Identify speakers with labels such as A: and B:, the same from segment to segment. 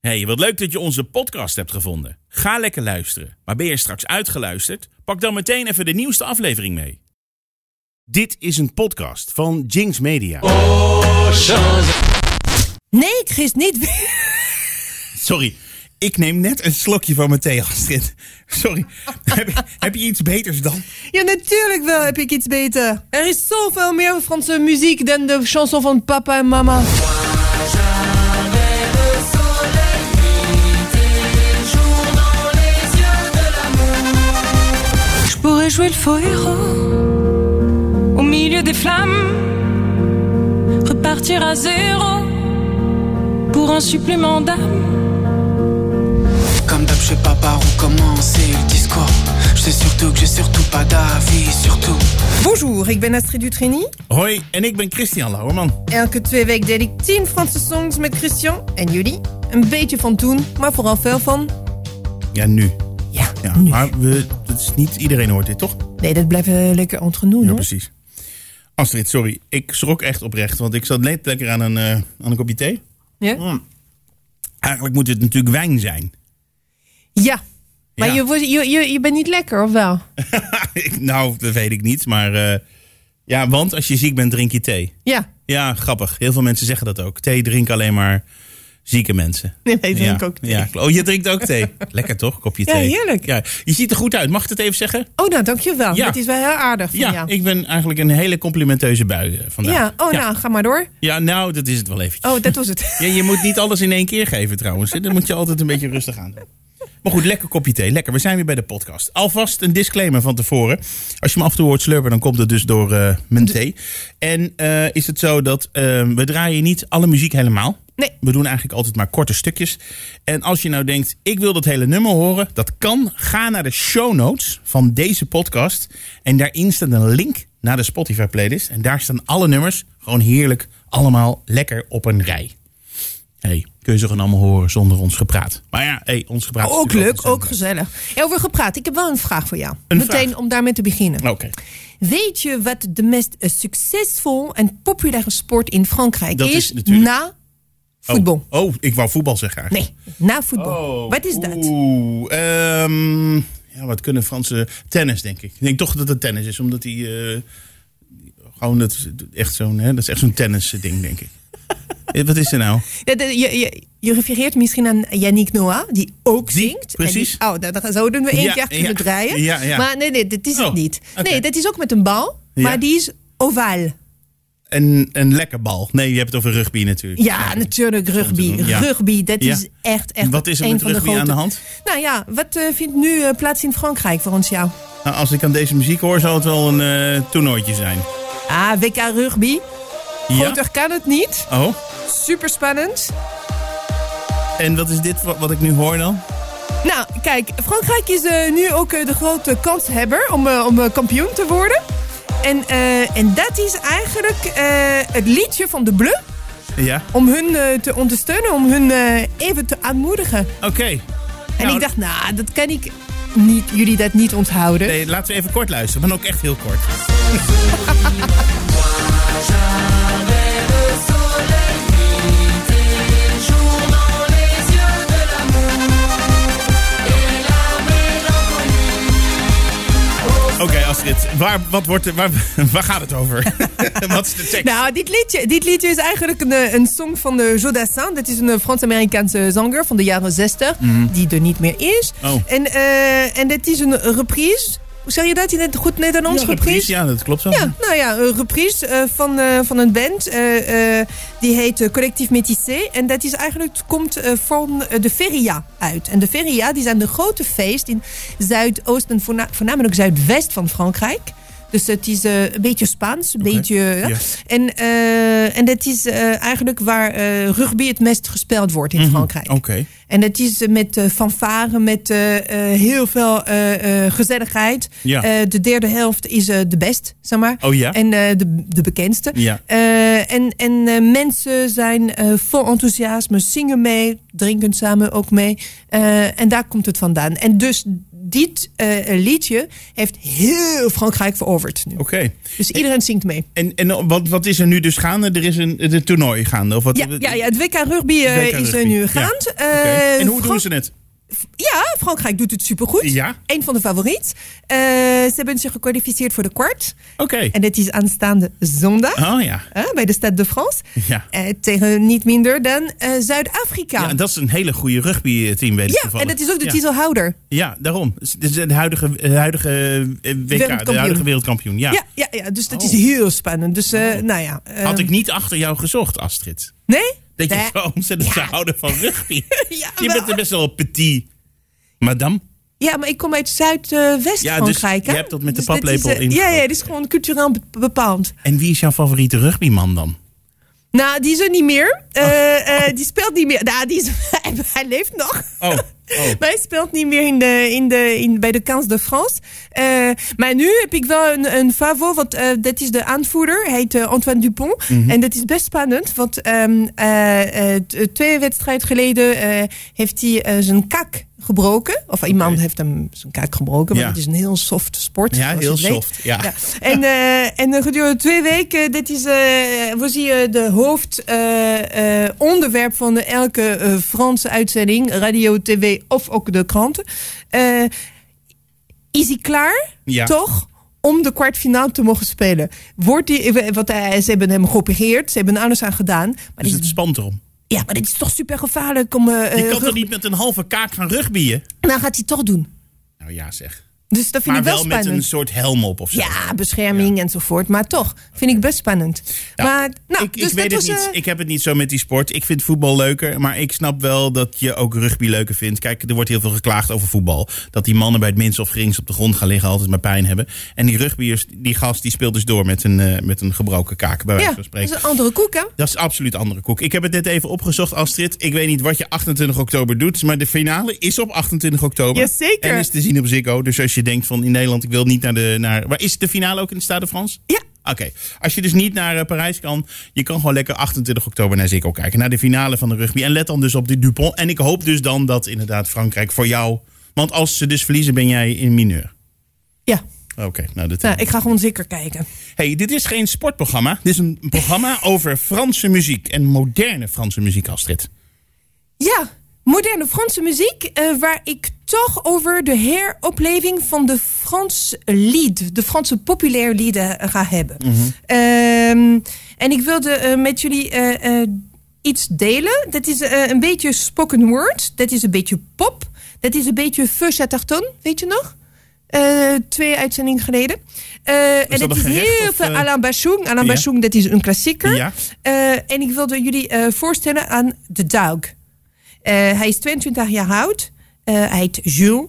A: hey, wat leuk dat je onze podcast hebt gevonden. Ga lekker luisteren. Maar ben je straks uitgeluisterd? Pak dan meteen even de nieuwste aflevering mee.
B: Dit is een podcast van Jinx Media.
C: Nee, ik gist niet weer.
A: Sorry, ik neem net een slokje van mijn thee, Astrid. Sorry, heb, heb je iets beters dan?
C: Ja, natuurlijk wel heb ik iets beter. Er is zoveel meer Franse muziek dan de chanson van papa en mama.
D: Je pourrais jouer le faux héros au milieu des flammes, repartir à zéro pour un supplément d'âme.
E: Comme d'hab, je sais pas par où commencer le discours. Je sais surtout que j'ai surtout pas d'avis, surtout.
C: Bonjour, ik ben Astrid Dutrini.
A: Hoi, en ik ben Christian Lauwerman.
C: Elke twee weken deel ik 10 Franse songs met Christian en jullie. Een beetje van toen, maar vooral veel van.
A: Ja, nu.
C: Ja,
A: Ja, maar we, het is niet iedereen hoort dit, toch?
C: Nee, dat blijft eh, lekker entre nous,
A: Ja,
C: hoor.
A: precies. Astrid, sorry, ik schrok echt oprecht, want ik zat net lekker aan een, eh, aan een kopje thee. Mm.
C: Ja?
A: Eigenlijk moet het natuurlijk wijn zijn.
C: ja. Maar
A: Ja.
C: Je, wordt- je, je, je bent niet lekker, of wel?
A: Ik- nou, dat weet ik niet, maar eh, ja, want als je ziek bent, drink je thee.
C: Ja.
A: Ja, grappig. Heel veel mensen zeggen dat ook. Thee drinken alleen maar zieke mensen.
C: Nee, wij drinken
A: ja.
C: ook thee.
A: Ja. Oh, je drinkt ook thee. Lekker toch? Kopje
C: Ja,
A: thee.
C: heerlijk.
A: Ja. Je ziet er goed uit. Mag ik het even zeggen?
C: Oh, nou, dankjewel.
A: Ja.
C: Dat is wel heel aardig van
A: Ja,
C: jou.
A: ik ben eigenlijk een hele complimenteuze bui eh, vandaag.
C: Ja, oh,
A: ja.
C: nou, ga maar door.
A: Ja, nou, dat is het wel eventjes.
C: Oh, dat was het.
A: Ja, je moet niet alles in één keer geven trouwens. hè. Dan moet je altijd een beetje rustig aan doen. Maar goed, lekker kopje thee. Lekker. We zijn weer bij de podcast. Alvast een disclaimer van tevoren. Als je me af en toe hoort slurpen, dan komt het dus door eh, mijn thee. En eh, is het zo dat eh, we draaien niet alle muziek helemaal.
C: Nee.
A: We doen eigenlijk altijd maar korte stukjes. En als je nou denkt, ik wil dat hele nummer horen, dat kan. Ga naar de show notes van deze podcast. En daarin staat een link naar de Spotify playlist. En daar staan alle nummers gewoon heerlijk allemaal lekker op een rij. Hey, kun je ze gewoon allemaal horen zonder ons gepraat. Maar ja, hey, ons gepraat. is
C: Ook
A: natuurlijk
C: leuk, ook
A: altijd
C: gezellig. Ja, over gepraat. Ik heb wel een vraag voor jou.
A: Een
C: Meteen
A: vraag? Nou.
C: om daarmee te beginnen.
A: zo. Oké,
C: Weet je wat de meest eh, succesvol en populaire sport in Frankrijk
A: Dat
C: is?
A: is natuurlijk-
C: Na voetbal.
A: Oh, oh, ik wou voetbal zeggen eigenlijk.
C: Nee, na voetbal.
A: Oh,
C: wat is dat?
A: Oeh, ehm, ja, wat kunnen Franse tennis, denk ik. Ik denk toch dat het tennis is, omdat die eh, gewoon dat echt zo'n hè, dat is echt zo'n tennis eh, ding, denk ik. Eh, wat is er nou?
C: Ja, de- Je, je, je refereert misschien aan Yannick Noah, die ook
A: Die,
C: zingt. En
A: precies.
C: die- oh, nou, dan zouden we één
A: Ja,
C: keer kunnen
A: ja,
C: draaien.
A: ja, ja.
C: Maar nee, nee, dat is
A: Oh,
C: het niet.
A: oké.
C: Nee, dat is ook met een bal, maar
A: Ja.
C: die is ovaal.
A: Een, een lekker bal. Nee, je hebt het over rugby natuurlijk.
C: Ja, natuurlijk rugby.
A: doen, ja.
C: Rugby, dat
A: Ja.
C: is echt, echt
A: Wat is er
C: een
A: met
C: van de
A: rugby aan
C: grote-
A: de hand?
C: Nou ja, wat eh, vindt nu eh, plaats in Frankrijk volgens jou?
A: Nou, als ik aan deze muziek hoor, zal het wel een eh, toernooitje zijn.
C: Ah, WK rugby. Groter kan het niet.
A: Oh,
C: Super spannend.
A: en wat is dit wat, wat ik nu hoor dan?
C: Nou, kijk, Frankrijk is eh, nu ook eh, de grote kanshebber om, eh, om eh, kampioen te worden. En, eh, en dat is eigenlijk eh, het liedje van de Bleu.
A: Ja,
C: Om hun eh, te ondersteunen, om hun eh, even te aanmoedigen.
A: oké.
C: En
A: Nou,
C: ik dacht, nou, dat kan ik niet, jullie dat niet onthouden.
A: Nee, laten we even kort luisteren, maar ook echt heel kort. Oké, Astrid, waar, wat wordt, er- waar, waar gaat het over? wat is de tekst?
C: Nou, dit liedje, dit liedje is eigenlijk een, eh, een song van de Jodassin. Dat is een eh, Frans-Amerikaanse zanger van de jaren 60, die er niet meer is.
A: Mhm. Oh.
C: En, eh, en dat is een reprise. Hoe zeg je dat in het goed Nederlands?
A: Ja,
C: reprise?
A: Ja, dat klopt zo.
C: Ja, nou ja, een reprise eh, van, eh, van een band. eh, eh, die heet eh, Collectief Métissé. En dat is eigenlijk, komt eh, van eh, de Feria uit. En de Feria die zijn de grote feest in Zuidoost en voorna- voornamelijk Zuidwest van Frankrijk. Dus het is eh, een beetje Spaans, een beetje... ja.
A: ja.
C: En, eh, en dat is eh, eigenlijk waar eh, rugby het meest gespeeld wordt in Frankrijk.
A: Oké.
C: En dat is eh, met eh, fanfare, met eh, eh, heel veel eh, eh, gezelligheid.
A: Ja.
C: Eh, de derde helft is eh, de best, zeg maar.
A: Oh ja?
C: En eh, de, de bekendste.
A: Ja.
C: Eh, en en eh, mensen zijn eh, vol enthousiasme, zingen mee, drinken samen ook mee. Eh, en daar komt het vandaan. En dus dit eh, liedje heeft heel Frankrijk veroverd nu.
A: Oké.
C: Dus iedereen zingt mee.
A: En, en wat, wat is er nu dus gaande? Er is een, een toernooi gaande? Of wat,
C: Ja, ja, ja, het WK rugby eh,
A: WK
C: is er
A: rugby. Ja.
C: nu gaand.
A: Oké.
C: Eh,
A: en hoe
C: Fran-
A: doen ze het?
C: Ja, Frankrijk doet het supergoed.
A: Ja.
C: Eén van de favoriet. Eh, ze hebben zich gekwalificeerd voor de kwart.
A: Oké.
C: En dit is aanstaande zondag.
A: Oh ja.
C: hè, bij de Stade de France.
A: Ja.
C: Eh, tegen niet minder dan eh, Zuid-Afrika.
A: Ja, dat is een hele goede rugbyteam, weet ik
C: Ja,
A: toevallig.
C: en dat is ook de
A: ja.
C: titelhouder.
A: Ja, daarom. Het is de huidige, de huidige eh, WK, de
C: Wereldkampioen.
A: huidige wereldkampioen. Ja. Oh.
C: Ja, ja, ja, dus dat is heel spannend. Dus, eh, nou ja. eh,
A: Had ik niet achter jou gezocht, Astrid.
C: Nee?
A: Dat je
C: Nee.
A: zo ontzettend zou houden van rugby.
C: Ja,
A: je
C: wel.
A: bent er best wel petit, madame.
C: Ja, maar ik kom uit Zuidwest-Frankrijk.
A: dus je hebt dat met de paplepel
C: in. Ja,
A: ingegooid.
C: ja, dit is gewoon cultureel be- bepaald.
A: En wie is jouw favoriete rugbyman dan?
C: Nou, die is er niet meer.
A: Oh.
C: Eh, eh, die speelt niet meer. Nou, die is, hij, hij leeft nog.
A: Oh, oh.
C: Maar hij speelt niet meer in de, in de, in, bij de Kans de France. Eh, maar nu heb ik wel een, een favo, want eh, dat is de aanvoerder. Hij heet eh, Antoine Dupont.
A: Mhm.
C: En dat is best spannend, want ehm, eh, eh, t- twee wedstrijden geleden eh, heeft hij eh, zijn kak gebroken. Of iemand heeft hem zijn kak gebroken, want
A: Ja.
C: het is een heel soft sport.
A: Ja,
C: zoals
A: heel
C: je weet.
A: soft. Ja.
C: Ja. En, eh, en eh, gedurende twee weken, dit is, eh, was hier eh, de hoofdonderwerp van de elke eh, Franse uitzending, radio, tv of ook de kranten. Eh, is hij klaar?
A: Ja.
C: Toch? Om de kwartfinale te mogen spelen. Wordt die, eh, want hij- ze hebben hem geopereerd, ze hebben alles aan gedaan. Maar
A: Dus
C: dit
A: het
C: is,
A: spant erom.
C: ja, maar dit is toch super gevaarlijk om. eh,
A: Je
C: eh,
A: kan
C: rug-
A: toch niet met een halve kaak gaan rugbyen?
C: Nou, gaat hij toch doen.
A: Nou ja, zeg.
C: Dus dat vind
A: Maar
C: ik wel,
A: wel met
C: spannend.
A: een soort helm op of zo.
C: Ja, bescherming enzovoort. Maar toch, vind ik best spannend.
A: Ja,
C: maar, nou,
A: ik,
C: dus
A: ik
C: dat
A: weet het
C: was,
A: niet.
C: eh,
A: Ik heb het niet zo met die sport. Ik vind voetbal leuker, maar ik snap wel dat je ook rugby leuker vindt. Kijk, er wordt heel veel geklaagd over voetbal. Dat die mannen bij het minst of gerings op de grond gaan liggen, altijd maar pijn hebben. En die rugbyers, die gast, die speelt dus door met een, eh, met een gebroken kaak, bij wijze
C: ja,
A: van
C: dat is
A: spreken.
C: een andere koek, hè?
A: Dat is absoluut andere koek. Ik heb het net even opgezocht, Astrid. Ik weet niet wat je 28 oktober doet, maar de finale is op 28 oktober.
C: Jazeker.
A: En is te zien op Ziggo. Dus als je denkt van in Nederland, ik wil niet naar de... Naar, maar is de finale ook in de Stade de France?
C: Ja.
A: Oké, als je dus niet naar eh, Parijs kan, je kan gewoon lekker 28 oktober naar Ziggo kijken. Naar de finale van de rugby. En let dan dus op de Dupont. En ik hoop dus dan dat inderdaad Frankrijk voor jou... Want als ze dus verliezen, ben jij in mineur.
C: Ja,
A: Oké, nou dat
C: nou, ik ga gewoon zeker kijken.
A: Hey, dit is geen sportprogramma. Dit is een programma over Franse muziek. En moderne Franse muziek, Astrid.
C: Ja, moderne Franse muziek, eh, waar ik toch over de heropleving van de Frans lied, de Franse populaire lieden eh, ga hebben.
A: Mhm.
C: Ehm, en ik wilde eh, met jullie eh, eh, iets delen. Dat is eh, een beetje spoken word, dat is een beetje pop, dat is een beetje feu chatterton, weet je nog? Eh, twee uitzendingen geleden. Eh, en
A: dat
C: dat
A: een
C: is
A: gerecht
C: heel
A: of,
C: veel
A: eh?
C: Alain Bachung. Alain
A: Ja.
C: Bachung, dat is een klassieker.
A: Ja.
C: Eh, en ik wilde jullie eh, voorstellen aan de Doug. Eh, hij is 22 jaar oud. Eh, hij heet Jules.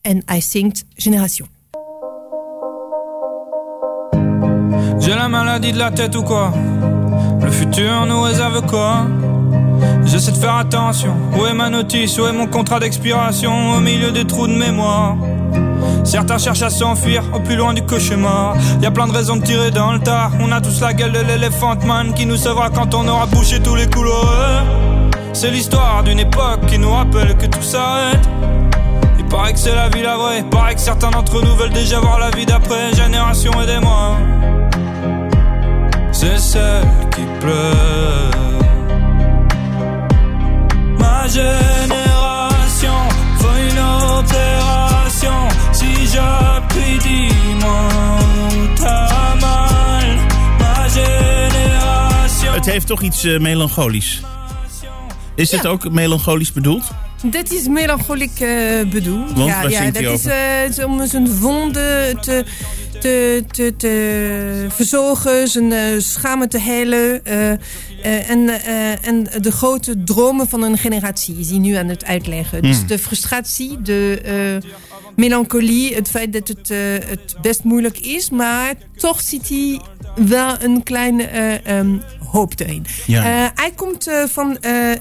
C: En hij zingt Génération.
F: J'ai la maladie de la tête ou quoi Le futur nous réserve quoi J'essaie de faire attention. Où est ma notice Où est mon contrat d'expiration Au milieu des trous de mémoire. Certains cherchent à s'enfuir au plus loin du cauchemar. Y a plein de raisons de tirer dans le tas. On a tous la gueule de l'éléphant man qui nous sauvera quand on aura bouché tous les couloirs. C'est l'histoire d'une époque qui nous rappelle que tout s'arrête. Il paraît que c'est la vie la vraie. Paraît que certains d'entre nous veulent déjà voir la vie d'après. Génération, aidez-moi c'est celle qui pleure. Ma génération faut une opération. Si j'appuie, dis-moi où t'as mal. Ma génération.
A: Het heeft toch iets eh, melancholisch. Is het
C: Ja.
A: ook melancholisch bedoeld?
C: Dat is melancholiek eh bedoeld.
A: Want
C: ja,
A: waar
C: ja
A: zingt
C: dat
A: hij
C: is eh, om zijn wonden te, te, te, te verzorgen, zijn eh, schamen te helen. eh, eh, en, eh, en de grote dromen van een generatie is hij nu aan het uitleggen.
A: Hmm.
C: Dus de frustratie, de eh, melancholie, het feit dat het, eh, het best moeilijk is, maar toch ziet hij wel een kleine eh, ehm, hoop erin.
A: Ja.
C: Eh, hij komt eh, van eh,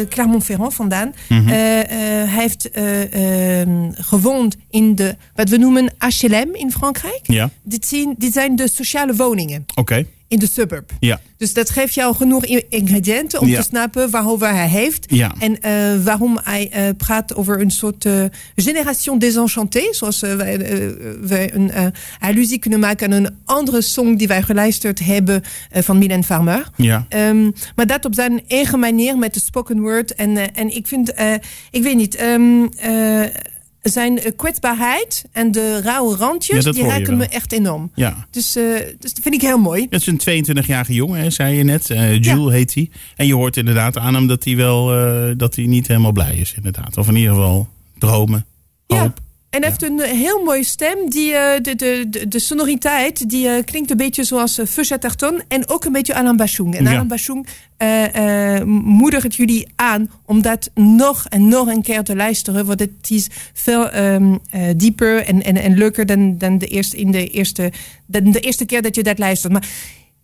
C: eh, Clermont-Ferrand vandaan.
A: Mhm.
C: Eh, eh, hij heeft eh, ehm, gewoond in de, wat we noemen HLM in Frankrijk.
A: Ja.
C: Dit, zien, dit zijn de sociale woningen.
A: Oké.
C: In in de suburb.
A: Ja.
C: Dus dat geeft jou genoeg i- ingrediënten om
A: Ja.
C: te snappen waarover hij heeft.
A: Ja.
C: En eh, waarom hij eh, praat over een soort eh generation désenchantée. Zoals eh, wij, eh, wij een eh, allusie kunnen maken aan een andere song die wij geluisterd hebben eh, van Mylène Farmer.
A: Ja.
C: Ehm, maar dat op zijn eigen manier met de spoken word. En, eh, en ik vind, eh, ik weet niet, ehm, eh, zijn eh, kwetsbaarheid en de rauwe
A: Ja,
C: randjes,
A: dat
C: die
A: hoor je
C: raken me
A: wel.
C: echt enorm.
A: Ja.
C: Dus, eh, dus dat vind ik heel mooi.
A: Het is een 22-jarige jongen, hè, zei je net. Eh Jules heet hij. En je hoort inderdaad aan hem dat hij wel eh, dat hij niet helemaal blij is, inderdaad. Of in ieder geval dromen, hoop.
C: En hij heeft een eh, heel mooie stem. Die, eh, de, de, de, de sonoriteit die, eh, klinkt een beetje zoals uh, Fusha Tarton. En ook een beetje Alain Bachung. En
A: Ja.
C: Alain Bachung eh, eh, moedigt het jullie aan om dat nog en nog een keer te luisteren. Want het is veel ehm, eh, dieper en, en, en leuker dan, dan, de eerste, in de eerste, dan de eerste keer dat je dat luistert. Maar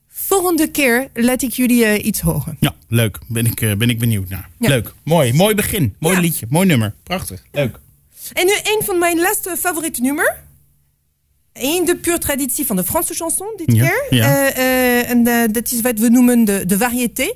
C: volgende keer laat ik jullie eh, iets horen.
A: Ja, leuk. Ben ik, eh, ben ik benieuwd naar.
C: Ja.
A: Leuk. Mooi. Mooi begin. Mooi
C: Ja.
A: liedje. Mooi nummer. Prachtig. Leuk.
C: En nu een van mijn laatste favoriete nummer. In de pure traditie van de Franse chanson dit
A: Ja,
C: keer.
A: ja.
C: Eh, eh, en eh, dat is wat we noemen de, de variété.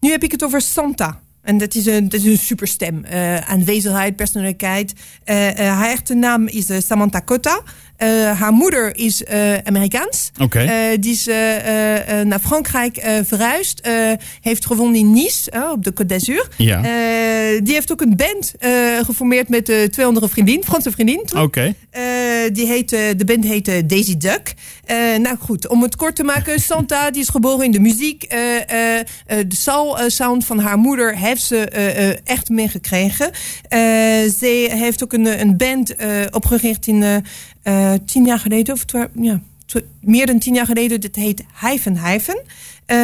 C: Nu heb ik het over Santa. En dat is een, dat is een superstem. Eh, aanwezigheid, persoonlijkheid. Eh, eh, haar echte naam is eh, Samantha Cotta. Eh, haar moeder is eh, Amerikaans.
A: Oké.
C: Eh, die is eh, eh, eh, naar Frankrijk eh, verhuisd. eh, heeft gewoond in Nice, eh, op de Côte d'Azur.
A: Ja.
C: Eh, die heeft ook een band eh, geformeerd met eh, twee andere vriendin, Franse vriendin. toen.
A: Oké.
C: Eh, die heet, eh, de band heet eh, Daisy Duck. Eh, nou goed, om het kort te maken. Santa die is geboren in de muziek. Eh, eh, eh, de soul eh, sound van haar moeder heeft ze eh, eh, echt meegekregen. Eh, ze heeft ook een, eh, een band eh, opgericht in eh, eh, tien jaar geleden. Of twa- ja, tw- meer dan tien jaar geleden. Dat heet Hyphen Hyphen. Eh,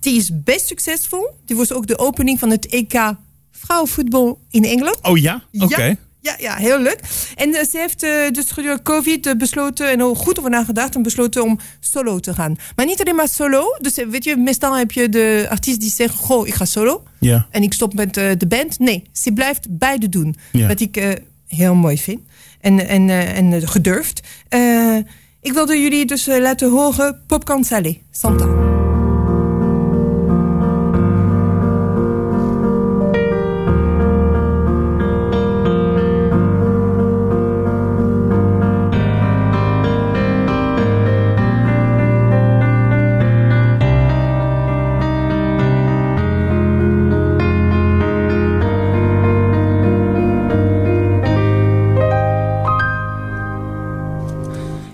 C: die is best succesvol. Die was ook de opening van het EK vrouwenvoetbal in Engeland.
A: Oh ja? Oké.
C: Ja, ja, ja, heel leuk. En eh, ze heeft eh, dus gedurende COVID eh, besloten, en er goed over nagedacht, en besloten om solo te gaan. Maar niet alleen maar solo. Dus eh, weet je, meestal heb je de artiest die zegt, goh, ik ga solo.
A: Ja.
C: En ik stop met eh, de band. Nee, ze blijft beide doen.
A: Ja.
C: Wat ik eh, heel mooi vind. En, en, eh, en eh, gedurfd. Eh, ik wilde jullie dus eh, laten horen Popcorn Salé, Santa.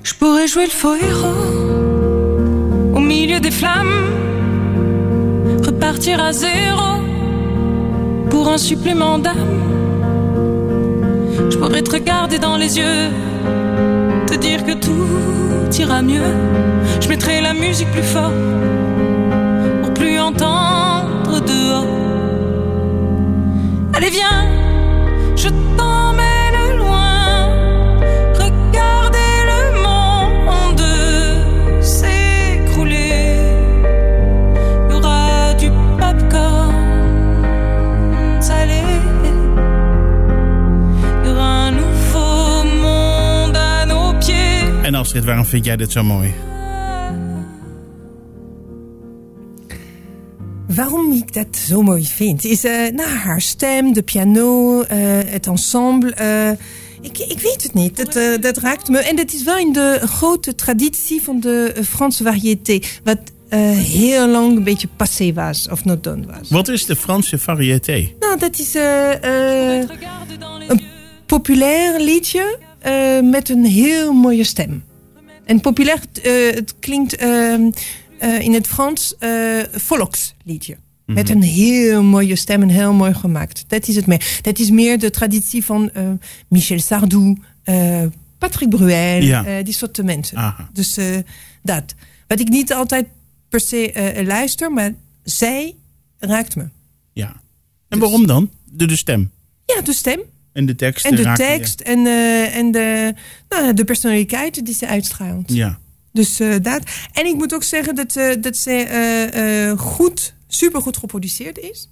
D: Je pourrais jouer le faux héros au milieu des flammes, repartir à zéro pour un supplément d'âme. Je pourrais te regarder dans les yeux, te dire que tout ira mieux. Je mettrai la musique plus fort pour plus entendre dehors. Allez, viens, je t'emmène loin. Regardez le monde s'écrouler. Il y aura du popcorn salé. Il y aura un nouveau monde à nos pieds.
A: En Astrid, waarom vind jij dit zo mooi?
C: Waarom ik dat zo mooi vind, is eh nou, haar stem, de piano, eh, het ensemble. eh, ik, ik weet het niet, dat, eh, dat raakt me. En dat is wel in de grote traditie van de eh, Franse variété. Wat eh, heel lang een beetje passé was, of not done was.
A: Wat is de Franse variété?
C: Nou, dat is eh, eh,
D: Regarde dans les
C: Hum.
D: yeux.
C: populair liedje eh, met een heel mooie stem. En populair, eh, het klinkt eh, eh, in het Frans eh volksliedje.
A: Mhm.
C: Met een heel mooie stem en heel mooi gemaakt. Dat is het meer. Dat is meer de traditie van eh, Michel Sardou, eh, Patrick Bruel,
A: Ja.
C: eh, die soort mensen.
A: Aha.
C: Dus eh, dat. Wat ik niet altijd per se eh, luister, maar zij raakt me.
A: Ja.
C: Dus-
A: En waarom dan? De, de stem.
C: Ja, de stem.
A: En de tekst.
C: En de
A: raken je.
C: tekst en, eh, en de, nou, ja, de personaliteit die ze uitstraalt.
A: Ja.
C: Dus eh, dat. En ik moet ook zeggen dat, eh, dat ze eh, eh, goed, supergoed geproduceerd is.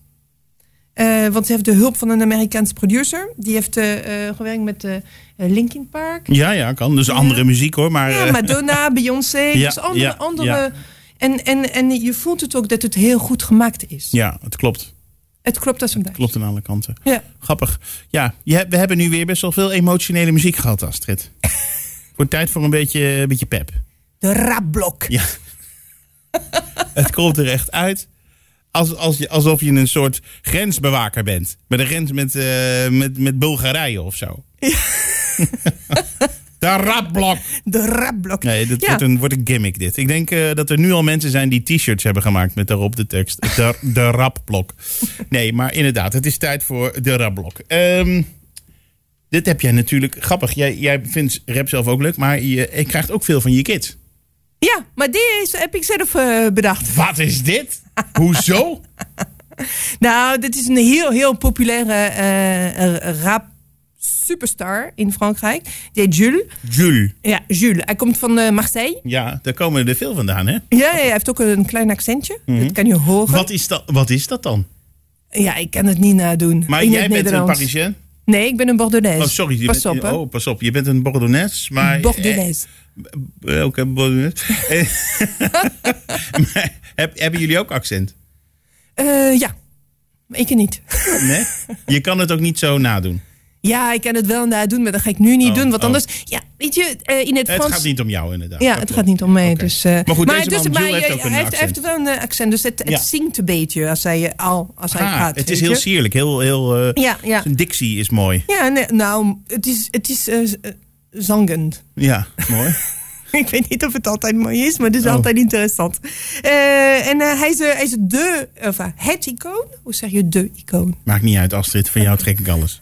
C: Eh, want ze heeft de hulp van een Amerikaans producer. Die heeft eh, eh, gewerkt met eh, eh, Linkin Park.
A: Ja, ja, kan. Dus andere muziek hoor. Maar,
C: Ja,
A: eh,
C: Madonna, Beyoncé.
A: Ja,
C: dus andere,
A: ja,
C: andere
A: ja.
C: En, en, en je voelt het ook dat het heel goed gemaakt is.
A: Ja, het klopt.
C: Het klopt als een duif.
A: Klopt aan alle kanten.
C: Ja.
A: Grappig. Ja, je hebt- we hebben nu weer best wel veel emotionele muziek gehad, Astrid. Wordt tijd voor een beetje, een beetje pep.
C: De rabblok.
A: Ja. het komt er echt uit. Als, als je, alsof je een soort grensbewaker bent. Bij de grens met, eh, met, met Bulgarije of zo. de rapblok.
C: De rabblok.
A: Nee, dat
C: Ja.
A: wordt, een, wordt een gimmick dit. Ik denk eh, dat er nu al mensen zijn die t-shirts hebben gemaakt met daarop de tekst. De, de rapblok. Nee, maar inderdaad, het is tijd voor de rapblok. Ehm, dit heb jij natuurlijk grappig. Jij, jij vindt rap zelf ook leuk, maar je, je krijgt ook veel van je kids.
C: Ja, maar deze heb ik zelf eh, bedacht.
A: Wat is dit? Hoezo?
C: Nou, dit is een heel, heel populaire eh, eh, rap superstar in Frankrijk. Die heet Jules.
A: Jules.
C: Ja, Jules. Hij komt van eh, Marseille.
A: Ja, daar komen er veel vandaan, hè?
C: Ja, ja, hij heeft ook een klein accentje. Dat kan je horen.
A: Mhm. Wat is dat, wat is dat dan?
C: Ja, ik kan het niet nadoen.
A: Maar
C: in
A: jij
C: het
A: bent een
C: Nederlands.
A: Parisien?
C: Nee, ik ben een Bordelaise.
A: Oh, sorry. Je
C: Pas
A: bent,
C: op, hè.
A: Oh, pas op. Je bent een Bordeaux, maar...
C: Bordelaise.
A: Eh, eh, Oké, Bordeaux. Eh, maar heb, hebben jullie ook accent?
C: Eh, ja, Maar ik niet.
A: Nee? Je kan het ook niet zo nadoen.
C: Ja, ik kan het wel nadoen, maar dat ga ik nu niet
A: Oh,
C: doen. Want
A: oh.
C: anders, ja, weet je, eh, in het
A: Het
C: Frans...
A: gaat niet om jou, inderdaad.
C: Ja,
A: Dat
C: het
A: klopt.
C: gaat niet om mij.
A: Oké.
C: Dus, eh,
A: maar goed, deze
C: dus-
A: man Jules heeft
C: ja,
A: ook een
C: hij
A: accent.
C: heeft, heeft wel een accent, dus het, het
A: Ja.
C: zingt een beetje als hij, eh, al, als hij
A: Ah,
C: gaat.
A: het
C: weet
A: is heel
C: je.
A: sierlijk. Heel, heel, eh,
C: Ja, ja.
A: Zijn dictie is mooi.
C: Ja, nee, nou, het is, het is eh, z- eh, zangend.
A: Ja, mooi.
C: Ik weet niet of het altijd mooi is, maar het is
A: Oh.
C: altijd interessant. Eh, en eh, hij, is, eh, hij is de, of, eh, het icoon. Hoe zeg je de icoon?
A: Maakt niet uit, Astrid. Van jou trek ik alles.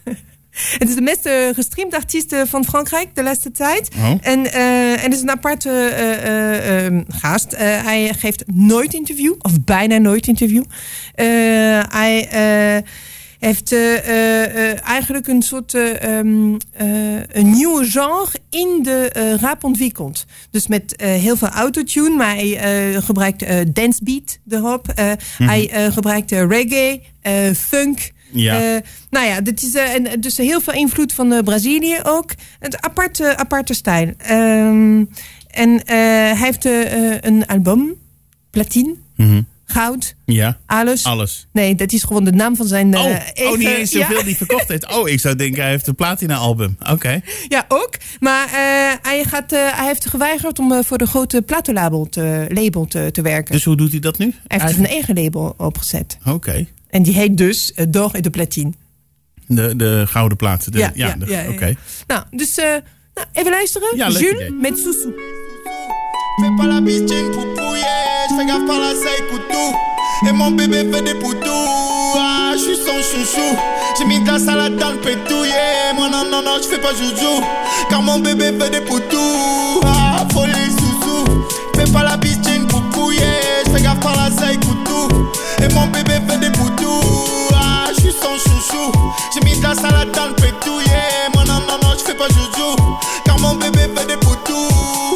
C: Het is de meest eh, gestreamd artiest eh, van Frankrijk de laatste tijd.
A: Oh.
C: En, eh, en het is een aparte eh, eh, eh, gast. Eh, hij geeft nooit interview, of bijna nooit interview. Eh, hij eh, heeft eh, eh, eh, eigenlijk een soort eh, ehm, eh, een nieuwe genre in de eh, rap ontwikkeld. Dus met eh, heel veel autotune, maar hij eh, gebruikt eh, dancebeat erop. Eh, Hij eh, gebruikt eh, reggae, eh, funk.
A: Ja.
C: Eh, nou ja, dit is eh, en, eh, dus heel veel invloed van eh, Brazilië ook. Het aparte, aparte stijl. Ehm, en eh, hij heeft eh, eh, een album, platine,
A: Mhm.
C: goud,
A: Ja,
C: alles.
A: alles.
C: Nee, dat is gewoon de naam van zijn.
A: Oh,
C: eh,
A: oh,
C: even-
A: niet eens
C: ja.
A: zoveel die verkocht heeft. Oh, ik zou denken, hij heeft een platina-album. Oké.
C: Ja, ook. Maar eh, hij, gaat, eh, hij heeft geweigerd om eh, voor de grote platenlabel te, label te, te werken.
A: Dus hoe doet hij dat nu?
C: hij heeft
A: Eigenlijk-
C: een eigen label opgezet.
A: Oké.
C: En die heet dus eh, Door et de Platine.
A: De, de gouden plaat. De, ja, de-
C: ja, ja.
A: Oké.
C: Nou, dus eh, nou, even luisteren.
A: Ja, leuk
C: Jules
A: idee.
C: met Soussou.
G: Fais pas la bitch, j'ai une poupouille, je fais gaffe par la saille couteau. Et mon bébé fait des poutous, ah, je suis son chouchou. J'ai mis de la salade dans le pétou, yeah. Moi non, non, non, je fais pas joujou. Car mon bébé fait des poutous, ah, faut les sous-sous. Fais pas la bitch, j'ai une poupouille, je fais gaffe par la saille couteau. Et mon bébé fait des poutous, ah, je suis son chouchou. J'ai mis de la salade dans le pétou, yeah. Moi non, non, non, je fais pas joujou. Car mon bébé fait des poutous.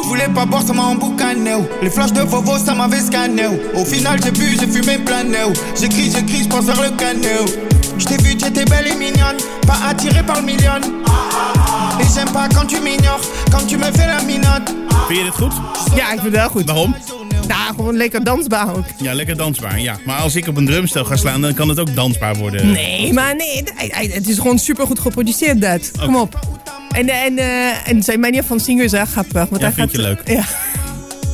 G: Voulais pas boire, ça m'a emboucané. oh. Les flashs de Vovo, ça m'avait scanné. oh. Au final, j'ai bu, j'ai fumé plané. oh. J'écris, j'écris, j'pense vers le cané. oh. J't'ai vu, t'étais belle et mignonne. Pas attirée par le million. Et j'aime pas quand tu m'ignores, quand tu me fais la minote.
A: Vind je dit goed?
C: Ja, ik vind het wel goed.
A: Waarom?
C: Nou, gewoon lekker dansbaar ook.
A: Ja, lekker dansbaar. Ja. Maar als ik op een drumstel ga slaan, dan kan het ook dansbaar worden.
C: Nee, maar nee, hij- hij- het is gewoon supergoed geproduceerd, dat. Kom op. En, en, eh, en zijn manier van zingen is echt grappig. Want
A: Ja,
C: hij
A: vind
C: gaat,
A: je leuk.
C: Ja.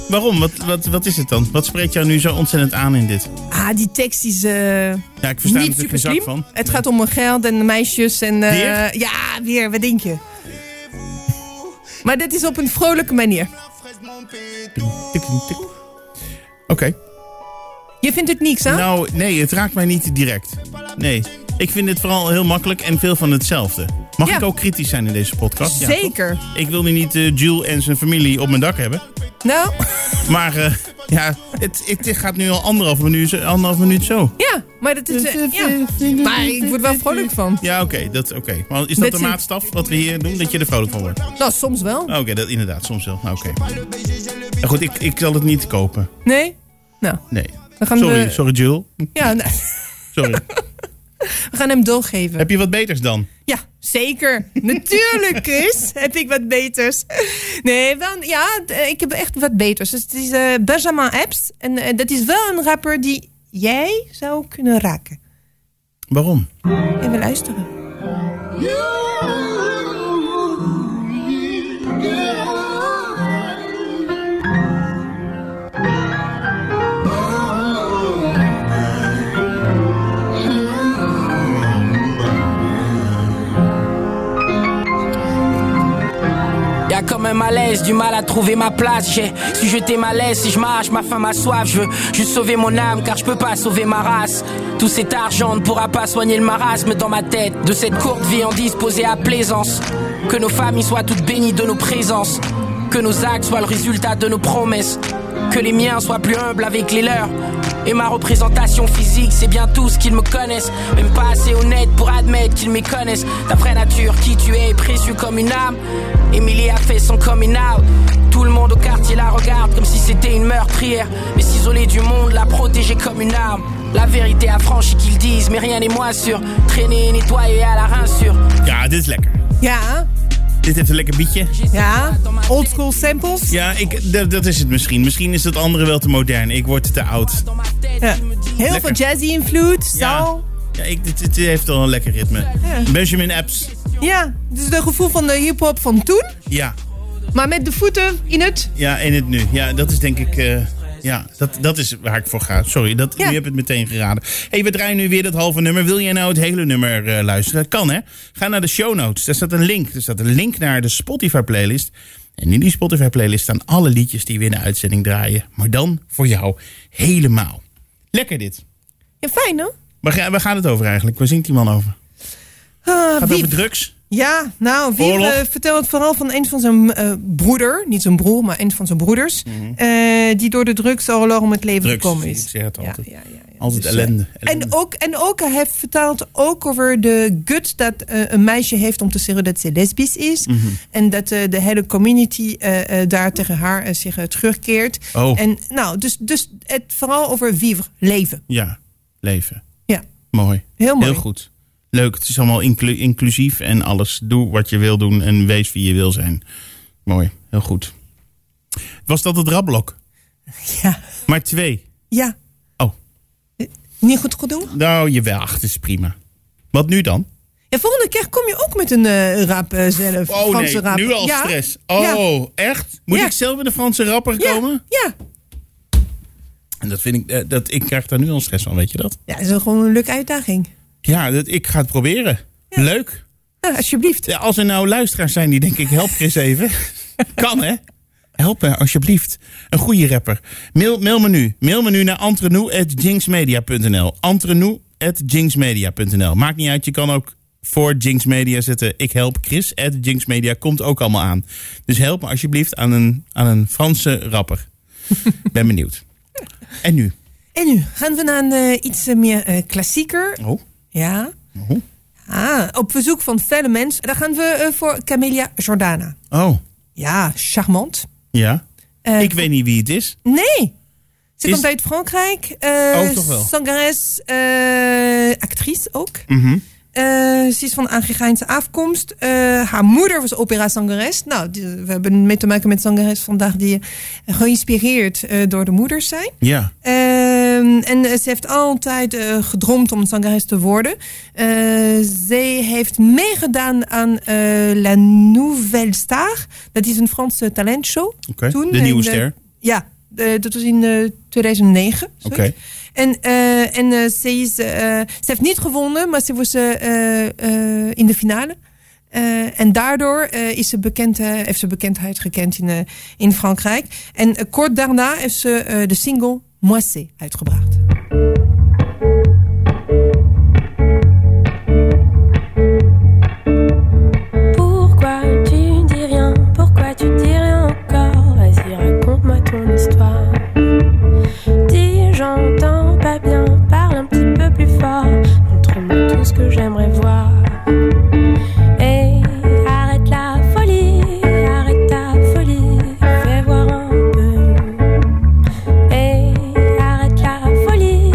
A: Waarom? Wat, wat, wat is het dan? Wat spreekt jou nu zo ontzettend aan in dit?
C: Ah, die tekst is eh,
A: Ja, ik versta
C: niet Eh.
A: natuurlijk
C: super
A: geen zak
C: slim.
A: van.
C: Het gaat om geld en meisjes en... eh,
A: Weer?
C: Ja, weer. Wat denk je? Maar dit is op een vrolijke manier.
A: Tik, tik. Oké.
C: Je vindt het niks, hè?
A: Nou, nee, het raakt mij niet direct. Nee. Ik vind het vooral heel makkelijk en veel van hetzelfde. Mag
C: Ja.
A: ik ook kritisch zijn in deze podcast? Ja, toch?
C: Zeker.
A: ik wil nu niet eh, Jules en zijn familie op mijn dak hebben.
C: Nou,
A: Maar eh, ja, het, het gaat nu al anderhalf minuut, anderhalf minuut zo.
C: ja. Maar dat is... eh, ja. Maar ik word wel vrolijk van.
A: Ja, oké. dat, oké. Maar Is dat
C: Met
A: de
C: z'n-
A: maatstaf wat we hier doen? Dat je er vrolijk van wordt? Ah,
C: Nou, soms wel.
A: Oké, dat inderdaad. Soms wel. Nou, Oké. Maar Goed, ik, ik zal het niet kopen.
C: Nee? Nou,
A: Nee.
C: dan gaan eh,
A: Sorry, Hm,
C: we...
A: sorry Jules.
C: Ja, nou,
A: Sorry.
C: We gaan hem doorgeven.
A: Heb je wat beters dan?
C: Ja, zeker. Natuurlijk, Chris. heb ik wat beters. Nee, wel, ja, d- eh, ik heb echt wat beters. Dus het is eh, Benjamin Epps. En eh, dat is wel een rapper die jij zou kunnen raken.
A: Waarom?
C: Even luisteren.
H: Y'a comme un malaise, du mal à trouver ma place. J'ai si jeter ma laisse, si je marche, ma faim, ma soif. Je veux juste sauver mon âme car je peux pas sauver ma race. Tout cet argent ne pourra pas soigner le marasme dans ma tête. De cette courte vie en disposée à plaisance. Que nos familles soient toutes bénies de nos présences. Que nos actes soient le résultat de nos promesses. Que les miens soient plus humbles avec les leurs. Et ma représentation physique, c'est bien tous qu'ils me connaissent. Même pas assez honnête pour admettre qu'ils méconnaissent. Ta vraie nature, qui tu es, est précieux comme une âme. Emily a fait son coming out. Tout le monde au quartier la regarde comme si c'était une meurtrière. Mais s'isoler du monde, la protéger comme une arme. La vérité affranchie qu'ils disent, mais rien n'est moins sûr. Traîner, nettoyer à la rinsure.
A: Ja, dit is lekker.
C: Ja,
A: Dit heeft een lekker bietje.
C: ja. Old school samples.
A: Ja, ik, dat, dat is het misschien. Misschien is dat andere wel te modern. Ik word te oud.
H: Dans ma tête,
C: Ja.
H: il me dit-
C: Heel veel jazzy invloed.
A: Ja,
C: Soul.
A: ja ik, dit, dit heeft al een lekker ritme. Benjamin Apps.
C: Ja, dus de gevoel van de hip-hop van toen.
A: Ja,
C: Maar met de voeten in het.
A: ja, in het nu. Ja, dat is denk ik... eh, ja, dat, dat is waar ik voor ga. Sorry, dat,
C: Ja.
A: nu heb je het meteen geraden. hey, we draaien nu weer dat halve nummer. Wil jij nou het hele nummer eh, luisteren? Dat kan, hè? Ga naar de show notes. Daar staat een link. Er staat een link naar de Spotify-playlist. En in die Spotify-playlist staan alle liedjes die we in de uitzending draaien. Maar dan voor jou helemaal. Lekker dit.
C: Ja, fijn, hè?
A: Waar, ga- waar gaat het over eigenlijk? Waar zingt die man over?
C: Ah,
A: Gaat het
C: Wiep.
A: over drugs?
C: Ja, nou, wie
A: Oorlog.
C: eh, vertelt het verhaal van een van zijn eh, broeder. Niet zijn broer, maar een van zijn broeders. eh, die door de drugsoorlog om het leven
A: Mhm. Drugs,
C: gekomen
A: ik
C: is.
A: zeg het altijd.
C: ja.
A: Altijd
C: Dus, eh,
A: ellende. ellende.
C: En ook, en ook hij heeft verteld ook over de gut dat eh, een meisje heeft om te zeggen dat ze lesbisch is.
A: Mhm.
C: En dat eh, de hele community eh, eh, daar tegen haar eh, zich eh, terugkeert.
A: Oh.
C: En, nou, dus, dus het vooral over vivre, leven.
A: Ja, leven.
C: Ja,
A: Mooi.
C: Heel mooi.
A: Heel goed. Leuk. Het is allemaal inclu- inclusief en alles. Doe wat je wil doen en wees wie je wil zijn. Mooi. Heel goed. Was dat het rabblok?
C: ja,
A: Maar twee.
C: ja.
A: Oh,
C: Niet goed genoeg?
A: nou jawel. Ach, het is prima. Wat nu dan?
C: Ja, volgende keer kom je ook met een eh, rap eh, zelf.
A: Oh
C: Franse
A: nee,
C: rap.
A: nu al
C: Ja.
A: stress.
C: Ja.
A: Oh, echt? Moet
C: Ja.
A: ik zelf met de Franse rapper
C: Ja.
A: komen?
C: Ja.
A: En dat vind ik, eh, dat, ik krijg daar nu al stress van, weet je dat?
C: ja, dat is wel gewoon een leuke uitdaging.
A: Ja, dat, ik ga het proberen. Leuk.
C: Nou, alsjeblieft.
A: Ja, als er nou luisteraars zijn die denk ik, help Chris even. kan hè? Help me alsjeblieft. Een goede rapper. Mail, mail me nu. Mail me nu naar antrenou.jinxmedia.nl antrenou.jinxmedia.nl Maakt niet uit, je kan ook voor Jinx Media zetten. Ik help Chris. At Jinx Media komt ook allemaal aan. Dus help me alsjeblieft aan een, aan een Franse rapper. ben benieuwd. En nu?
C: En nu gaan we naar een, eh, iets eh, meer eh, klassieker.
A: Oh,
C: Ja. Ah, op verzoek van felle mens. Dan gaan we eh, voor Camelia Jordana.
A: oh.
C: Ja, charmant.
A: ja.
C: Eh,
A: ik weet niet wie het is.
C: Nee. Ze
A: Is-
C: komt uit Frankrijk. Eh
A: Oh, toch wel.
C: zangeres, eh, actrice ook.
A: Mhm.
C: Eh, ze is van Angregaanse afkomst. Eh, haar moeder was operazangeres. Nou, die- we hebben mee te maken met zangeres vandaag die eh, geïnspireerd eh, door de moeders zijn.
A: Ja.
C: Ehm, en eh, ze heeft altijd eh, gedroomd om zangeres te worden. Eh, zij heeft meegedaan aan eh, La Nouvelle Star. Dat is een Franse talentshow.
A: Oké,
C: Toen
A: de nieuwe
C: in, eh,
A: ster.
C: ja, eh, dat was in eh, 2009. zoiets.
A: Oké.
C: En, eh, en eh, ze, is, eh, ze heeft niet gewonnen, maar ze was eh, eh, eh, in de finale. Eh, en daardoor eh, is ze bekend, eh, heeft ze bekendheid gekend in, eh, in Frankrijk. En eh, kort daarna heeft ze eh, de single Moissé uitgebracht.
I: Pourquoi tu dis rien Pourquoi tu dis rien encore Vas-y, raconte-moi ton histoire. Dis, j'entends pas bien, parle un petit peu plus fort. Montre-moi tout ce que j'aimerais voir. Et arrête la folie, arrête ta folie, fais voir un peu. Et arrête la folie,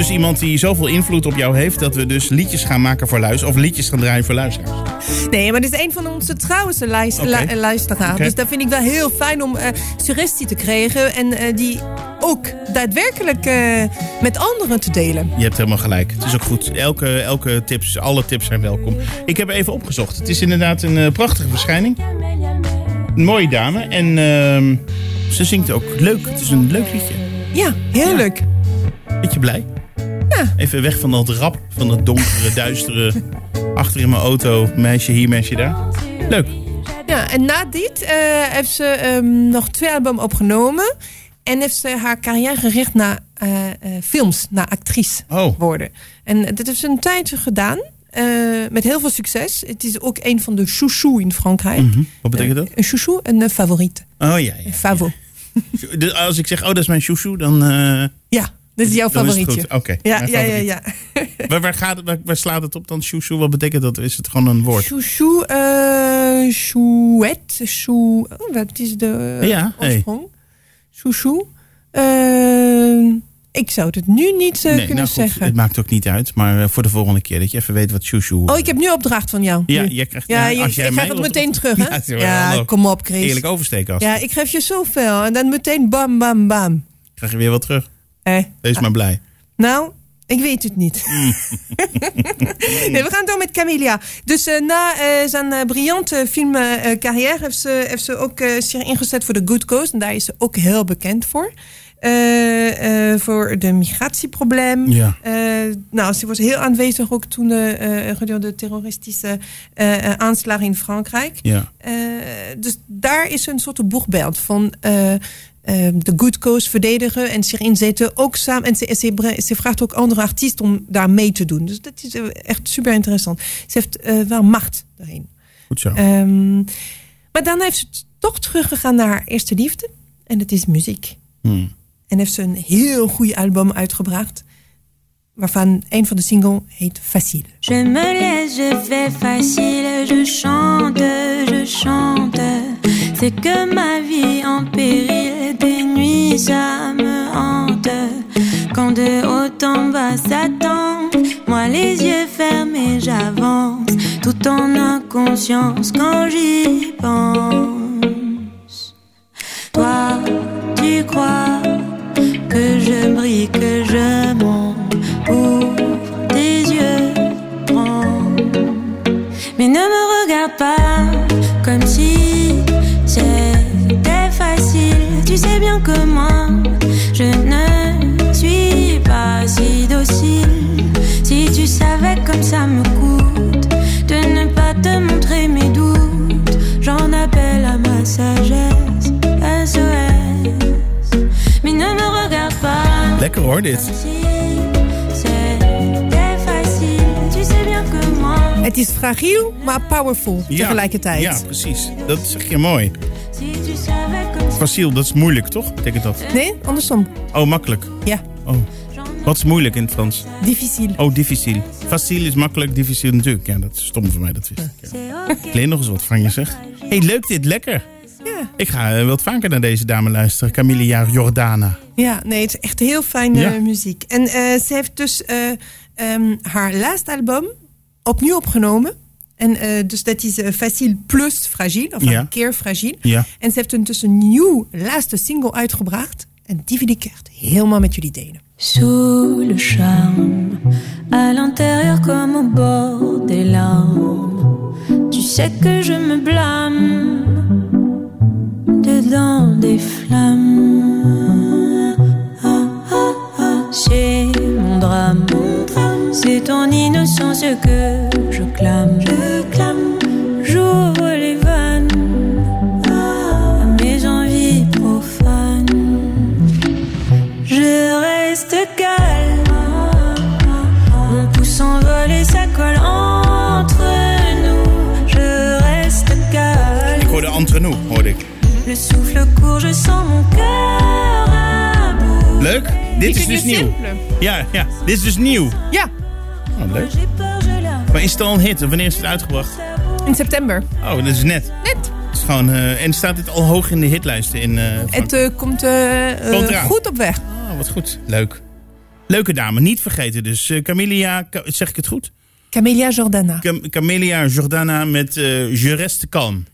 A: dus iemand die zoveel invloed op jou heeft... dat we dus liedjes gaan maken voor luisteraars... of liedjes gaan draaien voor luisteraars.
C: Nee, maar dit is een van onze trouwste luis-
A: Oké.
C: lu- luisteraars.
A: Oké.
C: Dus dat vind ik wel heel fijn om eh suggestie te krijgen. En eh, die ook daadwerkelijk eh, met anderen te delen.
A: Je hebt helemaal gelijk. Het is ook goed. Elke, elke tips, alle tips zijn welkom. Ik heb even opgezocht. Het is inderdaad een eh, prachtige verschijning. Een mooie dame. En ehm, ze zingt ook leuk. Het is een leuk liedje.
C: Ja, heerlijk.
A: Beetje blij. Even weg van dat rap, van dat donkere, duistere... achter in mijn auto, meisje hier, meisje daar. Leuk.
C: Ja, en na dit eh, heeft ze ehm, nog twee albums opgenomen. En heeft ze haar carrière gericht naar eh, eh, films, naar actrice
A: Oh.
C: worden. En dat heeft ze een tijdje gedaan. eh, met heel veel succes. Het is ook een van de chouchous in Frankrijk.
A: Mhm. Wat betekent dat?
C: Een chouchou, een eh, favoriet.
A: Oh ja, ja.
C: Een favo.
A: Dus als ik zeg, oh, dat is mijn chouchou, dan, eh
C: Ja, dit is jouw
A: dan is het
C: favorietje.
A: goed. Oké.
C: Ja,
A: mijn
C: ja, ja,
A: favoriet.
C: ja.
A: Waar, waar, gaat, het- waar, waar slaat het op dan, chouchou? Wat betekent dat? Is het gewoon een woord?
C: Chouchou, eh chouette, chou... Oh, wat is de eh,
A: Ja, hey.
C: oorsprong? Chouchou. Eh, ik zou het nu niet eh,
A: nee,
C: kunnen
A: nou goed,
C: zeggen.
A: het maakt ook niet uit. Maar eh, voor de volgende keer dat je even weet wat chouchou...
C: Oh, ik heb nu opdracht van jou.
A: Ja,
C: Nu.
A: jij krijgt-
C: ja,
A: ja,
C: je-
A: als jij
C: ik
A: mij
C: geef het
A: wil-
C: meteen terug,
A: Ja, het is
C: hè?
A: wel
C: Ja,
A: handig.
C: kom op, Chris.
A: Eerlijk oversteken als.
C: ja, ik geef je zoveel. En dan meteen bam, bam, bam.
A: krijg je weer wat terug.
C: Eh,
A: Wees maar blij.
C: nou, ik weet het niet. nee, we gaan door met Camelia. Dus eh, na eh, zijn eh, briljante filmcarrière heeft ze, heeft ze ook eh, zich ingezet voor de Good Cause. En daar is ze ook heel bekend voor. Eh, eh, voor de migratieprobleem.
A: Ja.
C: Eh, nou, ze was heel aanwezig ook toen eh, eh, gedurende de terroristische eh, eh, aanslagen in Frankrijk.
A: Ja.
C: Eh, dus daar is een soort boegbeeld van eh, eh, de good cause verdedigen en zich inzetten. Ook samen, en ze, ze, bre- ze vraagt ook andere artiesten om daar mee te doen. Dus dat is eh, echt super interessant. Ze heeft eh, wel macht daarin.
A: Goed zo.
C: Ehm, maar dan heeft ze toch teruggegaan naar haar eerste liefde. En dat is muziek.
A: Hmm.
C: En heeft ze een heel goed album uitgebracht. Waarvan een van de singles heet Facile.
I: Je me laisse, je fais facile, je chante, je chante. C'est que ma vie en péril, des nuits ça me hante. Quand de haut en bas s'attend, moi les yeux fermés j'avance, tout en inconscience quand j'y pense. Toi, tu crois que je brille, que je monte. Ouvre tes yeux, prends. Mais ne me regarde pas comme si c'était facile. Tu sais bien que moi, je ne suis pas si docile. Si tu savais comme ça me coûte de ne pas te montrer mes doutes, j'en appelle à ma sagesse. SOS. Mais ne me regarde pas.
A: Lekker hoor, dit.
I: C'était facile, tu sais bien que moi.
C: Het is fragiel, maar powerful tegelijkertijd.
A: Ja, precies. Dat zeg je mooi.
I: Si tu savais comme ça,
A: Faciel, dat is moeilijk, toch? Betekent dat?
C: Nee, andersom.
A: Oh, makkelijk.
C: Ja,
A: Oh. Wat is moeilijk in het Frans?
C: difficile.
A: Oh, difficile. Facile is makkelijk, difficile natuurlijk. Ja, dat is stom voor mij, dat wist ik. Ja.
I: c'est ok.
A: Ik leer nog eens wat van je, zeg. hey, leuk dit, lekker.
C: Ja.
A: Ik ga eh, wat vaker naar deze dame luisteren. Camilia Jordana.
C: Ja, nee, het is echt heel fijne
A: Ja.
C: eh, muziek. En eh, ze heeft dus eh, ehm, haar laatste album opnieuw opgenomen. En eh, dus dat is eh, Facile plus Fragile, of
A: Ja.
C: een keer Fragile.
A: Ja.
C: En ze heeft intussen een nieuw laatste single uitgebracht. En die wil ik echt helemaal met jullie delen.
I: Sous le charme, à l'intérieur comme au bord des larmes, tu sais que je me blâme dedans des flammes. Ah, ah, ah, C'est mon drame, c'est ton innocence que je clame, je clame. J'ouvre les vannes à mes envies profanes. Je reste calme. Mon pouce envole et ça colle entre nous. Je reste
A: Ik
I: calme.
A: hoorde Antonou, hoorde ik.
I: Le souffle court, je sens mon cœur à bout.
A: Leuk. Dit is dus nieuw. Ja, ja. Dit is dus nieuw.
C: Ja,
A: Oh, leuk.
I: J'ai peur, je la
A: Maar is het al een hit? Of wanneer is het uitgebracht?
C: in september.
A: Oh, dat is net.
C: Net.
A: Het is gewoon, eh, en staat dit al hoog in de hitlijsten in eh,
C: Het
A: Frankrijk?
C: eh, komt eh, eh,
A: Komt eraan.
C: goed op weg.
A: Oh, wat goed. Leuk. Leuke dame, niet vergeten. Dus eh, Camelia, Ca- zeg ik het goed?
C: Camelia Jordana.
A: Cam- Camelia Jordana met eh Je reste kalm.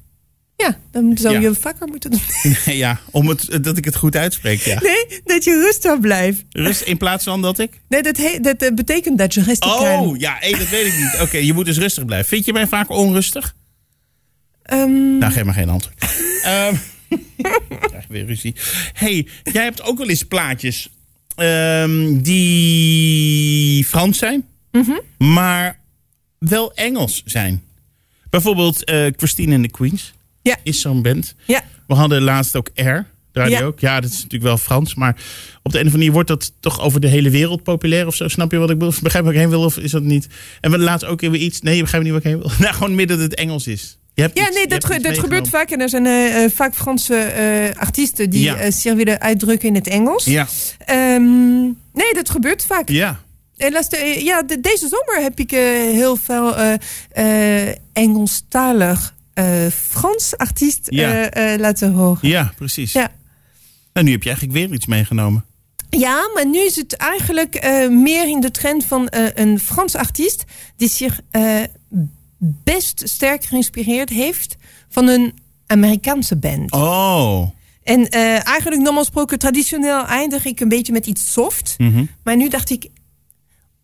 C: Ja, dan zou
A: Ja.
C: je vaker moeten doen.
A: ja, om het, dat ik het goed uitspreek. Ja.
C: Nee, dat je rustig blijft.
A: Rust in plaats van dat ik.
C: Nee, dat, he- dat eh, betekent dat je rustig
A: Oh,
C: blijft.
A: ja, hé, dat weet ik niet. Oké, je moet dus rustig blijven. Vind je mij vaak onrustig?
C: Ehm,
A: Nou, geef maar geen antwoord. Ehm, ik krijg weer ruzie. hey, jij hebt ook wel eens plaatjes ehm, die Frans zijn,
C: Mhm.
A: maar wel Engels zijn. Bijvoorbeeld eh, Christine and the Queens
C: Ja.
A: is zo'n band.
C: ja.
A: We hadden laatst ook R. Daar
C: Ja.
A: ook. Ja, dat is natuurlijk wel Frans. Maar op de een of andere manier wordt dat toch over de hele wereld populair of zo. Snap je wat ik bedoel? Of Begrijp ik heen wil of is dat niet? En we laatst ook weer iets. Nee, je begrijpt niet wat ik heen wil. Nou, gewoon midden dat het Engels is. Je hebt
C: Ja,
A: iets-
C: nee,
A: je
C: dat,
A: hebt
C: ge-
A: iets
C: dat gebeurt
A: meegenomen.
C: vaak. En er zijn eh, eh, vaak Franse eh, artiesten die
A: Ja.
C: eh, zich willen uitdrukken in het Engels.
A: Ja,
C: Ehm, nee, dat gebeurt vaak.
A: ja.
C: En laatste, eh, ja, de- deze zomer heb ik eh, heel veel eh, eh, Engelstalig eh, Frans artiest
A: Ja.
C: eh, eh, laten horen.
A: Ja, precies.
C: Ja.
A: Nou, nu heb je eigenlijk weer iets meegenomen.
C: Ja, maar nu is het eigenlijk eh, meer in de trend van eh, een Frans artiest die zich eh, best sterk geïnspireerd heeft van een Amerikaanse band.
A: Oh.
C: En eh, eigenlijk normaal gesproken traditioneel eindig ik een beetje met iets soft.
A: Mhm.
C: Maar nu dacht ik,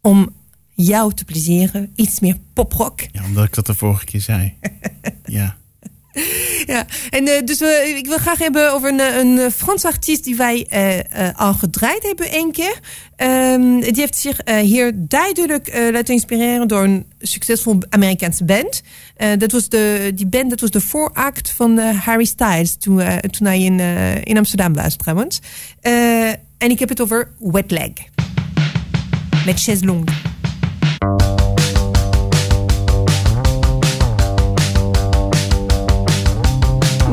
C: om jou te plezieren, iets meer poprock.
A: Ja, omdat ik dat de vorige keer zei. ja.
C: Ja. En eh, dus we, ik wil graag hebben over een, eh, een eh, Franse artiest die wij eh, eh, al gedraaid hebben één keer. Ehm, die heeft zich eh, hier duidelijk eh, laten inspireren door een succesvol Amerikaanse band. Eh, dat was de, die band dat was de vooract van eh, Harry Styles toen, eh, toen hij in, eh, in Amsterdam was trouwens. Eh, en ik heb het over Wet Leg. Met Chaise Longue.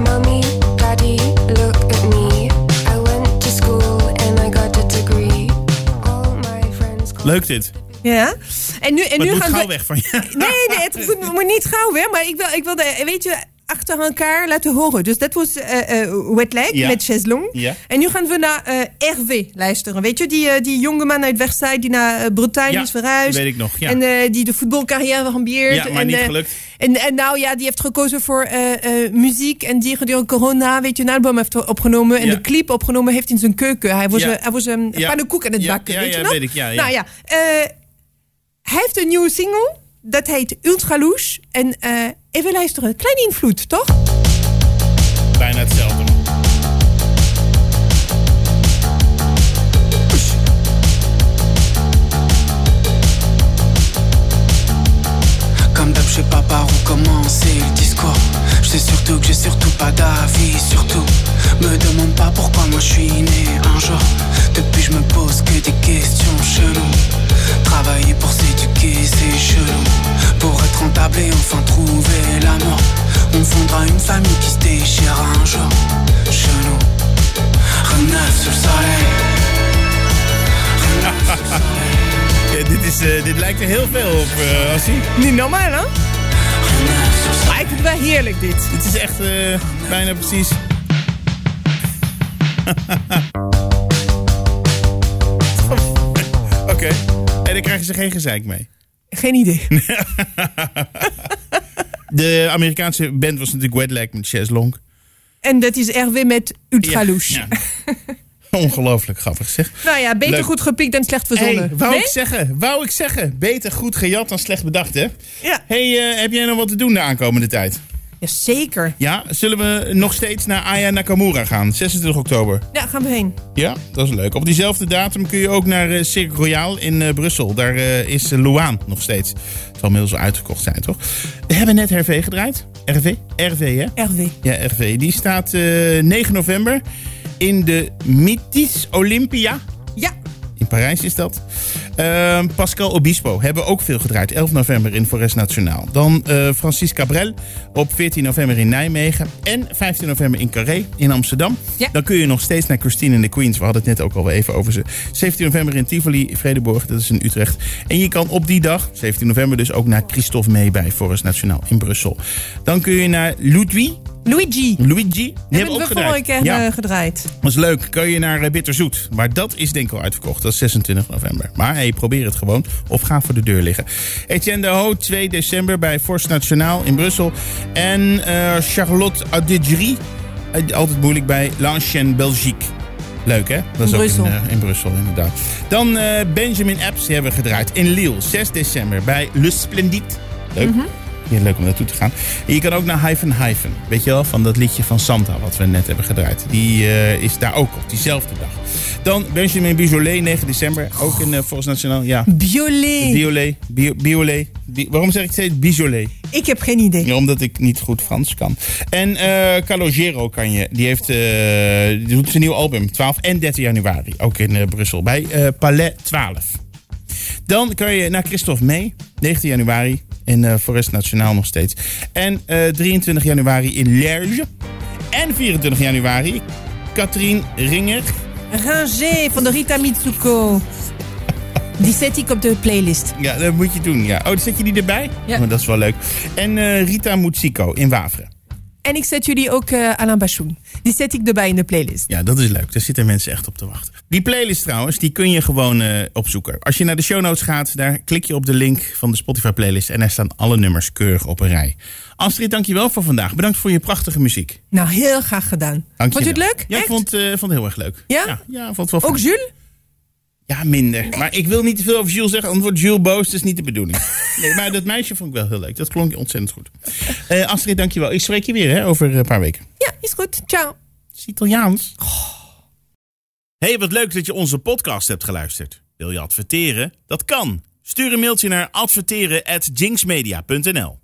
I: Mommy, daddy, look at me. I went to school and I got a degree. All my friends call
A: Leuk dit.
C: Ja. En nu, en
A: Maar
C: nu
A: het moet
C: gaan
A: gauw
C: we...
A: weg van je.
C: Nee, nee, het moet, moet niet gauw weer. Maar ik wil, ik wil de, weet je, achter elkaar laten horen. Dus dat was eh eh, Wet Leg
A: Ja.
C: met Cheslong.
A: Ja.
C: En nu gaan we naar eh Hervé luisteren. Weet je, die, eh, die jonge man uit Versailles die naar eh, Bretagne
A: Ja,
C: is verhuisd.
A: dat weet ik nog, ja.
C: En eh, die de voetbalcarrière ambieert.
A: Ja, maar
C: en,
A: niet
C: eh,
A: gelukt.
C: en, en nou ja, die heeft gekozen voor eh, eh, muziek. En die gedurende corona, weet je, een album heeft opgenomen. En
A: Ja.
C: de clip opgenomen heeft in zijn keuken. Hij was,
A: Ja.
C: eh, hij was een
A: Ja.
C: pannenkoek aan het
A: Ja,
C: bakken,
A: ja,
C: weet je
A: ja,
C: nog?
A: weet ik, ja, ja.
C: Nou ja, eh, hij heeft een nieuwe single. Dat heet Ultralouche. En eh, even luisteren. Kleine invloed, toch?
A: Bijna hetzelfde.
E: Comme d'hab, je sais pas par où commencer le discours. Je sais surtout que j'ai surtout pas d'avis, surtout. Me demande pas pourquoi moi je suis né un jour. Depuis, je me pose que des questions cheloues. Travailler pour s'éduquer, c'est chelou. Pour être rentable et enfin trouver l'amour. On fondra une famille qui se déchire un jour. Chelou. Rien de neuf sous le soleil. Rien de neuf sous le soleil.
A: Ja, dit, is, eh, dit lijkt er heel veel op, eh Assie.
C: Niet normaal, hè?
E: Rien de neuf sous le soleil.
C: Maar Ah, ik vind het wel heerlijk, dit.
A: Dit is echt eh, bijna precies. Oké. En dan krijgen ze geen gezeik mee.
C: Geen idee.
A: De Amerikaanse band was natuurlijk Wet Leg met Chess Long.
C: En dat is Hervé met Ultralouche.
A: Ja, ja. Ongelooflijk grappig zeg.
C: Nou ja, beter
A: Leuk.
C: goed gepikt dan slecht
A: Hey,
C: verzonnen.
A: wou
C: Nee?
A: ik zeggen, wou ik zeggen. Beter goed gejat dan slecht bedacht hè.
C: Ja.
A: Hey, eh, heb jij nog wat te doen de aankomende tijd?
C: ja, zeker.
A: Ja, zullen we nog steeds naar Aya Nakamura gaan? 26 oktober.
C: Ja, gaan we heen.
A: Ja, dat is leuk. Op diezelfde datum kun je ook naar eh Cirque Royal in eh, Brussel. Daar eh, is eh, Luan nog steeds. Het zal inmiddels wel uitverkocht zijn, toch? We hebben net RV gedraaid. RV? RV, hè?
C: Hervé.
A: Ja, RV. Die staat eh, 9 november in de Mythisch Olympia.
C: Ja,
A: In Parijs is dat. Ehm, Pascal Obispo hebben we ook veel gedraaid. 11 november in Forest Nationaal. Dan eh Francis Cabrel op 14 november in Nijmegen. En 15 november in Carré in Amsterdam.
C: Ja.
A: Dan kun je nog steeds naar Christine en de Queens. We hadden het net ook al wel even over ze. 17 november in Tivoli, Vredeborg. Dat is in Utrecht. En je kan op die dag, 17 november dus, ook naar Christophe mee bij Forest Nationaal in Brussel. Dan kun je naar Ludwig
C: Luigi.
A: Luigi, die hebben
C: Hebben
A: we
C: we
A: ook
C: vorige
A: gedraaid.
C: keer
A: Ja,
C: eh, gedraaid.
A: dat is leuk. Kun je naar eh, Bitterzoet. Maar dat is denk ik al uitverkocht. Dat is 26 november. Maar hey, probeer het gewoon. Of ga voor de deur liggen. Etienne de Ho, 2 december bij Forst Nationaal in Brussel. En eh, Charlotte Adigri. Altijd moeilijk bij L'Ancienne Belgique. Leuk hè? Dat is
C: In
A: ook
C: Brussel.
A: In, eh, in Brussel, inderdaad. Dan eh, Benjamin Apps, die hebben we gedraaid. In Lille, 6 december bij Le Splendide. Leuk. Ja, leuk om naartoe te gaan. En je kan ook naar Hyphen Hyphen. Weet je wel, van dat liedje van Santa wat we net hebben gedraaid. Die eh, is daar ook op diezelfde dag. Dan Benjamin Bijolet, 9 december. Ook in eh Forst Nationaal. Ja,
C: Biolé.
A: Biolet. Bio- Biolet. Bi- waarom zeg ik steeds Bijolet?
C: Ik heb geen idee.
A: Ja, omdat ik niet goed Frans kan. En eh Calogero kan je. Die, heeft, eh, die doet zijn nieuw album. 12 en 13 januari. Ook in eh, Brussel. Bij eh, Palais 12. Dan kan je naar Christophe mee. 19 januari. In eh Forest Nationaal nog steeds. En eh, 23 januari in Lerge. En 24 januari. Katrien Ringer.
C: Ranger van de Rita Mitsuko. Die zet ik op de playlist.
A: Ja, dat moet je doen. Ja. Oh, zet je die erbij?
C: Ja.
A: Oh, dat is wel leuk. En eh, Rita Mutsiko in Wavre.
C: En ik zet jullie ook eh, Alain Bashoum. Die zet ik erbij in de playlist.
A: Ja, dat is leuk. Daar zitten mensen echt op te wachten. Die playlist trouwens, die kun je gewoon eh, opzoeken. Als je naar de show notes gaat, daar klik je op de link van de Spotify playlist. En daar staan alle nummers keurig op een rij. Astrid, dankjewel voor vandaag. Bedankt voor je prachtige muziek.
C: Nou, heel graag gedaan.
A: Dank
C: Vond je het
A: wel.
C: leuk?
A: Ja, ik
C: Echt?
A: vond, eh, vond het heel erg leuk.
C: Ja?
A: Ja, ja, ik vond het wel
C: Ook
A: fijn.
C: Jules?
A: Ja, minder. Maar ik wil niet te veel over Jules zeggen, anders wordt Jules boos. Dat is niet de bedoeling. Nee, maar dat meisje vond ik wel heel leuk. Dat klonk ontzettend goed. Eh Astrid, dankjewel. Ik spreek je weer hè, over een paar weken.
C: Ja, is goed. Ciao.
A: Het is Italiaans.
B: Hey, wat leuk dat je onze podcast hebt geluisterd. Wil je adverteren? Dat kan. Stuur een mailtje naar adverteren@jinxmedia.nl.